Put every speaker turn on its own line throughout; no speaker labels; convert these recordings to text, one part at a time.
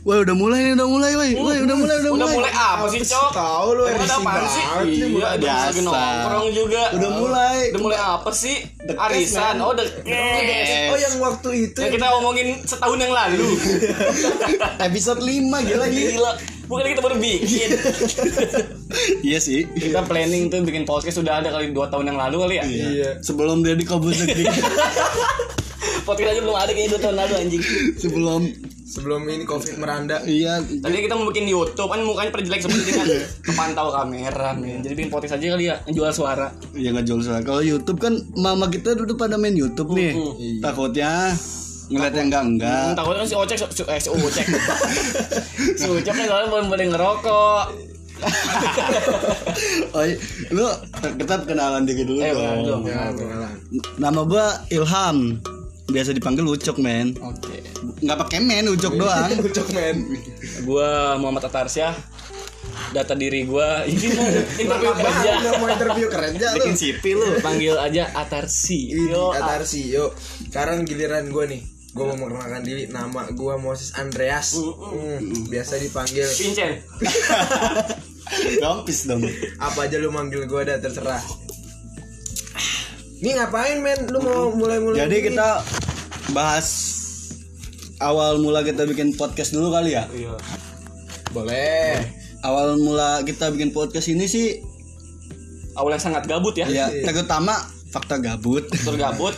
Wah udah mulai nih, udah mulai, woi, woi udah mulai, udah,
Udah
mulai.
mulai apa sih, Cok?
Tahu lu
Emang
RC
apaan sih?
banget nih,
Iya,
mulai
udah lagi
biasa.
nongkrong juga.
Udah mulai.
Udah mulai apa sih?
Dekes,
Arisan.
men.
Oh, deket.
Oh Iya, yang waktu itu
Yang ya? kita omongin setahun yang lalu.
Episode 5 gila gila.
Gila. Bukan kita baru bikin.
Iya sih.
Kita planning tuh bikin podcast sudah ada kali 2 tahun yang lalu kali ya.
Iya.
Sebelum dia dikobus
Podcast aja belum ada kayaknya 2 tahun lalu anjing.
sebelum
sebelum ini covid meranda.
iya
Tadinya kita mau bikin di YouTube kan mukanya perjelek seperti kan
Iya.
kepantau kamera men. Jadi bikin podcast aja kali ya, jual suara.
ya nggak jual suara. Kalau YouTube kan mama kita dulu pada main YouTube nih.
Iya.
Takutnya ngeliat yang enggak enggak.
Hmm, takutnya kan si Ocek si- eh, si Ocek. si Ocek kan soalnya belum boleh ngerokok.
Oh, iya. lu kita kenalan dikit dulu
Eh,
dong.
beneran dong.
Ya, kenalan.
Nama gua Ilham. Biasa dipanggil Ucok, men.
Oke.
Nggak pakai men, Ucok doang.
Ucok men.
Gua Muhammad Atarsyah. Data diri gua ini mah interview kerja.
Ah, Udah mau interview kerja lu.
Bikin sipi lu.
Panggil aja Atarsi.
Ini
Yo, ah.
kata Arsi, yuk. Sekarang giliran gue nih. Gue mau mengenalkan diri. Nama gue Moses Andreas. Hmm, biasa dipanggil
Vincent.
Gampis dong.
apa aja lu manggil gue dah terserah. Nih ngapain men? Lu mau mulai-mulai
Jadi
gini?
kita bahas awal mula kita bikin podcast dulu kali ya.
Iya.
boleh.
Awal mula kita bikin podcast ini sih
Awalnya sangat gabut ya.
Iya.
ya terutama fakta gabut.
Terus gabut,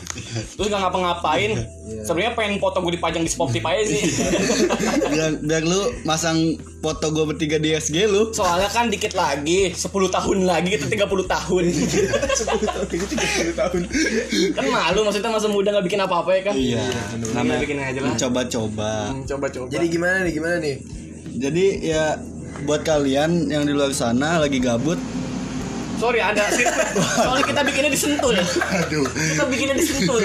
terus gak ngapa-ngapain.
Iya.
Sebenarnya pengen foto gue dipajang di Spotify aja sih.
biar, biar lu masang foto gue bertiga di SG lu.
Soalnya kan dikit lagi, 10 tahun lagi kita 30 tahun.
10 tahun, itu 30 tahun.
kan malu maksudnya masa muda nggak bikin apa-apa ya kan?
Iya,
Namanya bikin aja lah.
mencoba-coba.
Hmm,
Coba-coba.
Jadi gimana nih? Gimana nih?
Jadi ya buat kalian yang di luar sana lagi gabut,
Sorry ada statement. Soalnya kita bikinnya disentul. Aduh. Kita bikinnya disentul.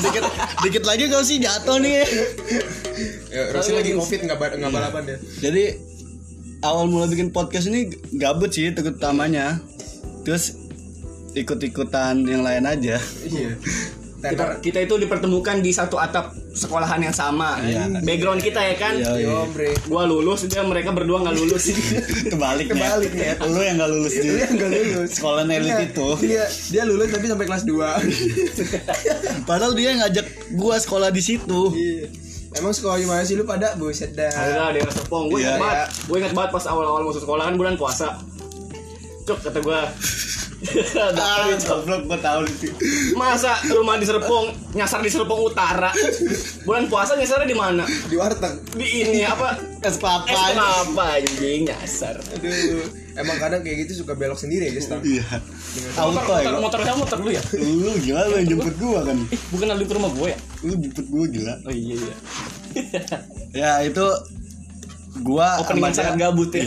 dikit dikit lagi kau sih jatuh nih.
Ya, Rosi lagi covid nggak ba- nggak balapan dia.
Jadi awal mula bikin podcast ini gabut sih terutamanya. Terus ikut-ikutan yang lain aja.
Iya.
kita,
Tenor.
kita itu dipertemukan di satu atap sekolahan yang sama.
Iya.
Background kita ya kan.
Iya, iya.
Yo, bre.
Gua lulus dia mereka berdua nggak lulus.
Kebalik nih.
Kebalik, Net.
Lu yang gak lulus
Dia
juga.
Iya, nggak lulus.
Sekolah
Iya,
elit itu.
Iya, dia lulus tapi sampai kelas 2.
Padahal dia ngajak gua sekolah di situ.
Iya. Emang sekolah gimana sih lu pada? Buset dah.
Ada daerah Serpong. Gue
Iya.
ingat banget. Gue ingat banget pas awal-awal masuk sekolah kan bulan puasa. Cuk kata gua.
Ah,
Daftarin, Cuk.
goblok gua tahu itu.
Masa rumah di Serpong, nyasar di Serpong Utara. Bulan puasa nyasarnya di mana?
Di warteg.
Di ini apa?
Es
Eh
papan.
kenapa anjing nyasar?
Aduh. Emang kadang kayak gitu suka belok sendiri ya, Guys. Tam.
Iya. Auto ya.
Motor,
Bang?
motor kamu motor lu ya?
Lu gila lu yang jemput gua kan.
Ih, bukan lalu ke rumah gue ya?
Lu jemput gua gila.
Oh iya iya.
Ya itu gua
Opening
dia-
sangat gabut ya.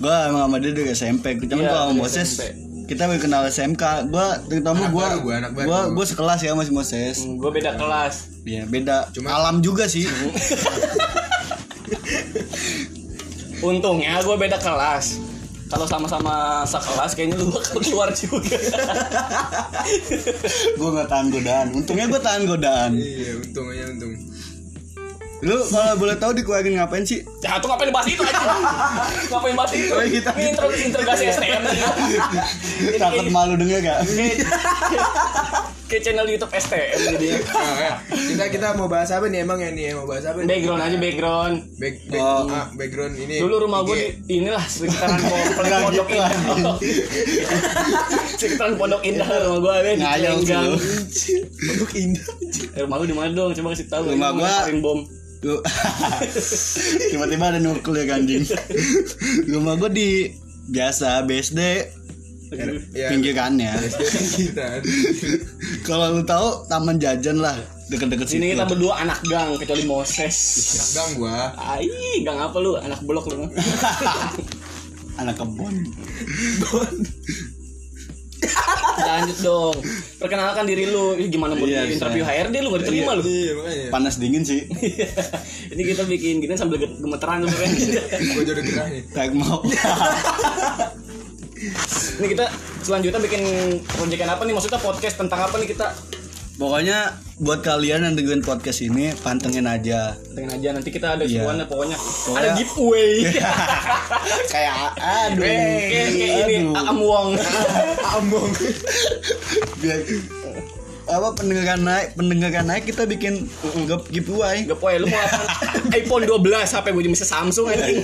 gua emang sama dia dari SMP cuman
Iya,
gua sama
dari
Moses
SMP.
kita baru kenal SMK gua terutama
Anak
gua
baru, gua anak baru.
gua gua sekelas ya sama si Moses
Hmm, gue beda kelas.
ya beda
Cuma-
alam juga sih
Untungnya gue beda kelas. Kalau sama-sama sekelas kayaknya lu bakal keluar juga.
gua nggak tahan godaan untungnya gua tahan godaan
Iya, untung aja untung.
lu kalau boleh tahu dikeluarin ngapain sih
ya tuh ngapain bahas itu aja. ngapain bahas itu?
Oh, kita-
Ini intro interogasi STM.
takut malu denger gak
Kayak- Kayak channel YouTube STM jadi
Nah, ya. kita kita mau bahas apa nih emang ya nih? Mau bahas apa? Nih?
background aja background.
Back, back,
Oh.
ah, background ini. Iya.
Dulu rumah gue
IG.
di inilah sekitaran pondok
Nggak
pondok
Iya. gitu
indah. sekitaran pondok indah rumah gue ada di
Iya. Ngayal sih
Lenggang.
lu.
Pondok Indah.
Eh, rumah lu di mana dong? Coba kasih tahu.
Rumah
Ini
gua-
ngelemparin bom.
Lu- tiba-tiba ada nuklir anjing rumah gua di biasa BSD
Ya,
pinggirannya
kita.
kalau lu tahu taman jajan lah deket-deket
Sini
situ
kita berdua anak gang kecuali Moses.
Gang gua.
Ai, gang apa lu? Anak blok lu.
anak kebon
Lanjut dong. Perkenalkan diri lu. Ih, gimana buat
Iya,
interview HRD lu gak diterima lu.
Iya, makanya.
panas dingin sih
Ini kita bikin gini sambil ge- gemeteran lu kan.
Gua jodoh gerah nih.
Tak mau.
Ini kita selanjutnya bikin proyekan apa nih? Maksudnya podcast tentang apa nih kita?
Pokoknya buat kalian yang dengerin podcast ini pantengin aja.
Dengan aja nanti kita ada
Iya.
semuanya pokoknya. Ada
Pokoknya- Iya,
giveaway.
Kayak aduh.
Kayak kayak ini
aduh.
Am Wong.
Ambong.
Biar apa pendengaran naik pendengaran naik kita bikin nge- giveaway
Gepoy lu mau apa? iPhone 12 HP gue bisa Samsung
Iya,
anjing.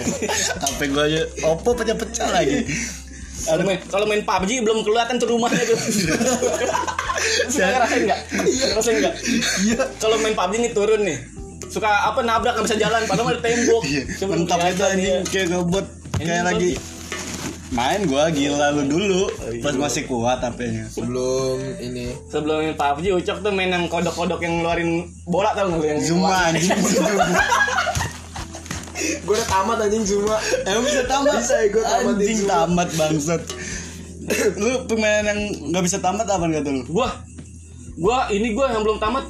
HP gue aja Oppo pecah-pecah lagi
Kalau main, kalau main PUBG belum kan kelihatan tuh rumahnya tuh. suka ngerasain nggak? Ngerasain nggak?
iya
Kalau main PUBG nih turun nih. Suka apa nabrak nggak bisa jalan padahal ada tembok.
iya
Cuma
mentap itu
kelihatan,
anjing
iya.
kayak ngebut kayak
Ini
lagi main gua gila lu dulu pas masih Oh, iya. kuat HP-nya
Sebelum ini
Sebelum main PUBG Ucok tuh main yang kodok-kodok yang ngeluarin bola tau nggak lu yang
Zuma anjing
Gue udah tamat anjing Zuma
Emang Eh, bisa tamat?
Bisa,
eh,
gua tamat di
Anjing
Zuma.
tamat bangsat Lu pemain yang gak bisa tamat apa kata lu?
Gua gua ini gua yang belum tamat.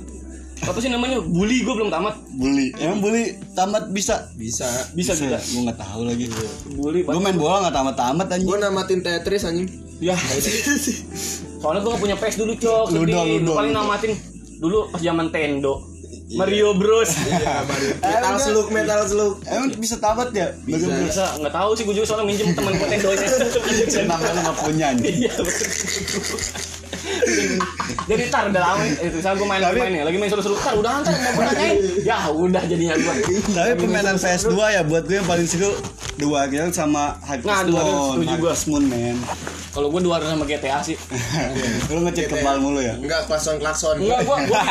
Apa sih namanya? Bully gua belum tamat.
Bully Emang bully tamat bisa?
Bisa
Bisa ya? bisa. Iya.
Gue gak tahu lagi
Bully.
Gue main bola gak tamat-tamat anjing
Gue namatin Tetris anjing
Ya. Soalnya gua gak punya PS dulu, Cok.
Ludo,
Sedih.
Ludo,
Paling
Ludo.
namatin dulu pas zaman Tendo. Iya. Mario Bros.
Iya, Metal
udah.
Slug Metal Slug
Emang bisa tamat ya? Bagaimana?
Bisa, nggak tahu sih gue juga soalnya minjem teman gue Tendonya.
Senang lu gak punya anjing
Iya. betul. Jadi tar udah lama eh, itu saya gue main lagi main ya, lagi main seru-seru tar udah antar mau nanyain. Ya udah jadinya gue.
Tapi permainan PS2 ya buat gue yang paling seru dua Girl sama Hype
Nah, dua Girl
Moon
setuju gua.
Hype Moon men
Kalau gue dua sama GTA sih. Iya.
Lu ngecek kebal mulu ya?
Enggak klakson klakson
Enggak gue gue.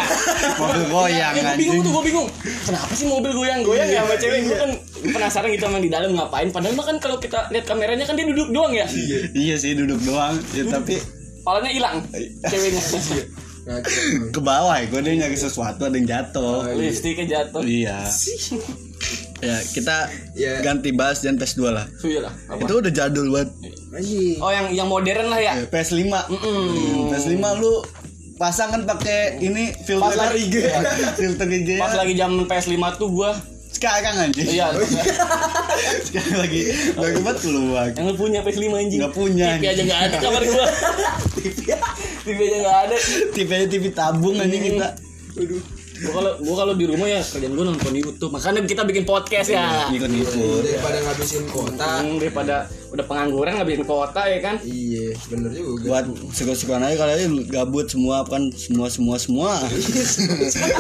Mobil goyang
Ya, gue bingung
anjing
tuh gue bingung. Kenapa sih mobil goyang-goyang ya sama cewek? Gue kan penasaran gitu sama yang di dalam ngapain. Padahal mah kan kalau kita lihat kameranya kan dia duduk doang ya.
Iya sih duduk doang ya, Tapi
Palanya hilang ceweknya.
ke bawah ya gue dia nyari sesuatu ada yang
Oh,
jatuh
Lipstiknya jatuh.
Iya Ya kita
Ya.
ganti bahas dan PS2 lah
Iya lah. apa?
Itu udah jadul banget
Anjing
Oh yang yang modern lah ya.
Eh, PS5 PS5 lu pasang kan pakai ini filter
Pas lagi-
IG filter IG ya.
Pas lagi zaman PS5 tuh gua
sekarang kan, anjing
iya
sekarang lagi lagi banget keluar
yang lu punya PS5 anjing.
Nggak punya,
TV aja
anjing.
enggak ada kabar gua. TV aja enggak ada.
TV TV tabung anjing kita
Hmm.
Aduh
Gua kalau gua kalau di rumah ya kerjaan gua nonton di YouTube. Makanya kita bikin podcast ya.
ngikut ngikut
Daripada ngabisin kota
Hmm, daripada udah pengangguran ngabisin kota ya kan.
Iya bener juga
buat suka-sukaan aja kalian gabut semua kan semua semua semua
Iya.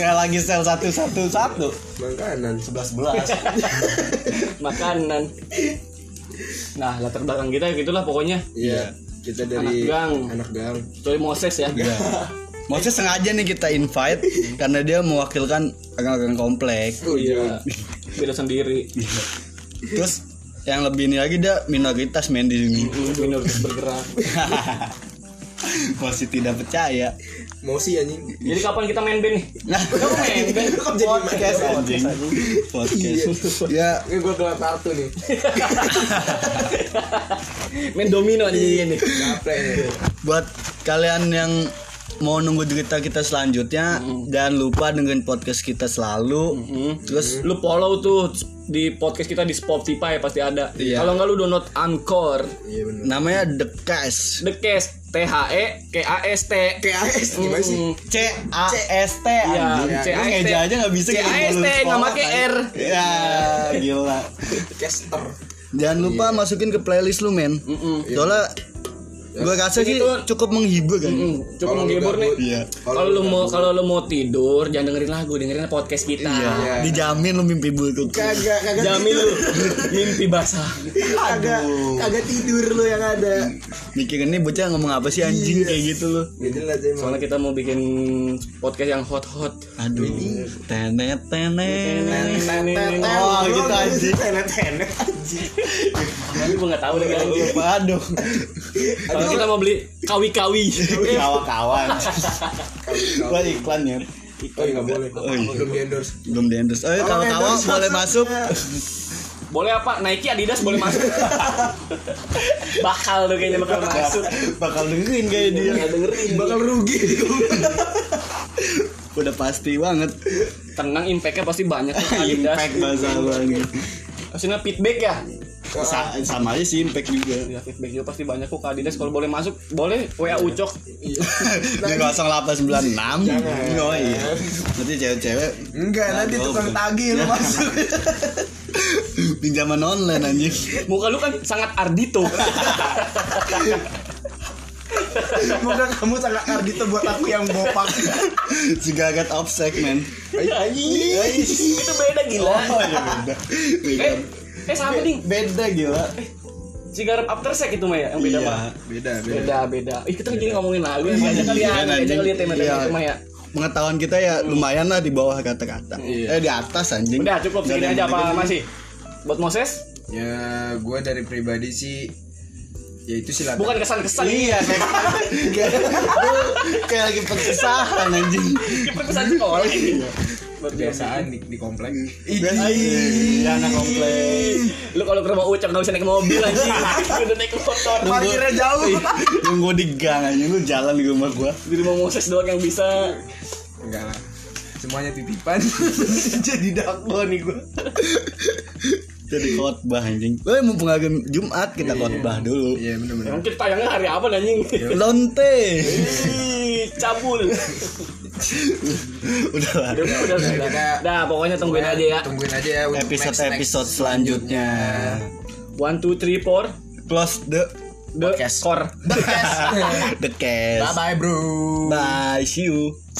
kayak lagi sel satu satu satu
Makanan
sebelas sebelas
Makanan. Nah, latar belakang kita gitulah pokoknya.
Iya Kita
Anak
dari
gang.
Anak gang
Kecuali Moses ya.
Iya.
maksudnya sengaja nih kita invite
Hmm.
karena dia mewakilkan agak-agak kompleks
Oh iya
Beda sendiri.
terus yang lebih ini lagi dia minoritas main di sini
Minoritas bergerak.
masih tidak percaya
Mau sih anjing
Jadi kapan kita main band nih?
nah
Kamu main Iya. band?
Kok jadi
podcast anjing podcast ya
Ini gue keluar kartu nih
main domino nih ini.
Gaplek nih
buat kalian yang mau nunggu cerita kita selanjutnya
Hmm.
jangan lupa dengerin podcast kita selalu terus
Lu follow tuh di podcast kita di Spotify ya, pasti ada.
Iya.
Kalau nggak lu download Anchor,
Iya bener
namanya The Cash
The Cast, T H E K A S T.
KAS gimana sih?
C A S T
Iya, C-A-S-T.
ngeja aja nggak bisa gitu, kita
C-A-S-T,
baru
nggak
sekolah,
pakai
kan.
R.
ya gila Iya.
Caster
jangan lupa masukin ke playlist lu men soalnya gue rasa sih
Begitu-
cukup menghibur kan
Hmm, Cukup
Kalau
menghibur
lu
nih.
gabut.
iya
Kalau lu mau kalau lu mau tidur jangan dengerin lagu, dengerin podcast kita.
iya dijamin lu mimpi buruk
Kagak Kagak
Jamin lu mimpi basah.
Kagak Kagak tidur lu yang ada
mikirin ini bocah ngomong apa sih anjing kayak gitu lu
Gitu lah sih
Soalnya kita mau bikin podcast yang hot-hot.
aduh tenet tenet
Oh,
gitu anjing.
Tenet-tenet anjing.
Tapi gua enggak tahu lagi anjing.
Waduh,
Kalau kita mau beli kawi-kawi. Eh,
kawan-kawan. Wah iklan ya.
Oh, iya, nggak boleh.
Oh, iya.
Belum di endorse.
Belum di endorse. Oh, ya,
Kalau
kawan-kawan
endorse
boleh
masuk.
masuk.
Boleh apa? Nike Adidas boleh masuk. bakal tuh kayaknya bakal masuk.
Bakal dengerin kayak dia.
Iya, Nggak dengerin.
Bakal rugi.
Udah pasti banget.
Tenang impactnya pasti banyak tuh Adidas.
Impact bahasa lu anjing.
Maksudnya feedback ya.
Sa- sama aja sih impact juga.
Ya feedback juga pasti banyak kok Kak Dinas kalau boleh masuk boleh WA Ucok.
Di 0896 Oh iya Nanti cewek-cewek
Enggak, nanti
gua
tukang
belum.
tagih lu masuk.
Pinjaman online anjing
Muka lu kan sangat Ardito.
Moga kamu sangat Ardito buat aku yang bopak.
Segagat offsec men
Anjing. Itu beda gila.
iya beda
Eh, eh sama ding.
Beda Iya. gila
Cigarap after sex itu Maya yang beda
Iya,
Pak.
Beda, beda.
Beda beda. Ih kita jadi ngomongin lagu yang banyak kali ya.
Iya,
Beda
anjing.
kali ya tema-tema
Iya.
itu Maya.
Pengetahuan kita ya lumayan lah di bawah kata-kata Eh di atas anjing
Udah cukup
Nggak ada
segini
yang
aja
penting.
apa masih? Buat Moses
Ya, gue dari pribadi sih ya itu silakan.
bukan kesan-kesan ini.
Iya kayak Kayak lagi perpisahan anjing
Kesan sekolah ini.
Iya.
Buat biasa.
kebiasaan di, di komplek.
Biasa Iya anak komplek
Lu kalau ke rumah Ucok nggak bisa naik mobil anjing.
Iya.
Udah naik motor.
Parkirnya jauh.
Nunggu di gang anjing Lu jalan di rumah gua
Di rumah Moses doang yang bisa.
Enggak lah. Semuanya titipan. Jadi dakwa nih gue.
Jadi khotbah anjing Eh mumpung hari Jumat kita khotbah dulu
Iya, benar-benar.
Emang kita tayangnya hari apa anjing?
Iya. Lonte.
Ih, cabul.
Udah lah.
Udah, udah, udah.
kita-
Dah, pokoknya tungguin aja ya.
Tungguin aja ya untuk next-next.
Episode-episode selanjutnya.
One, two, three, four.
Close the
The
Podcast.
core.
the case.
Bye bye bro.
Bye, see you.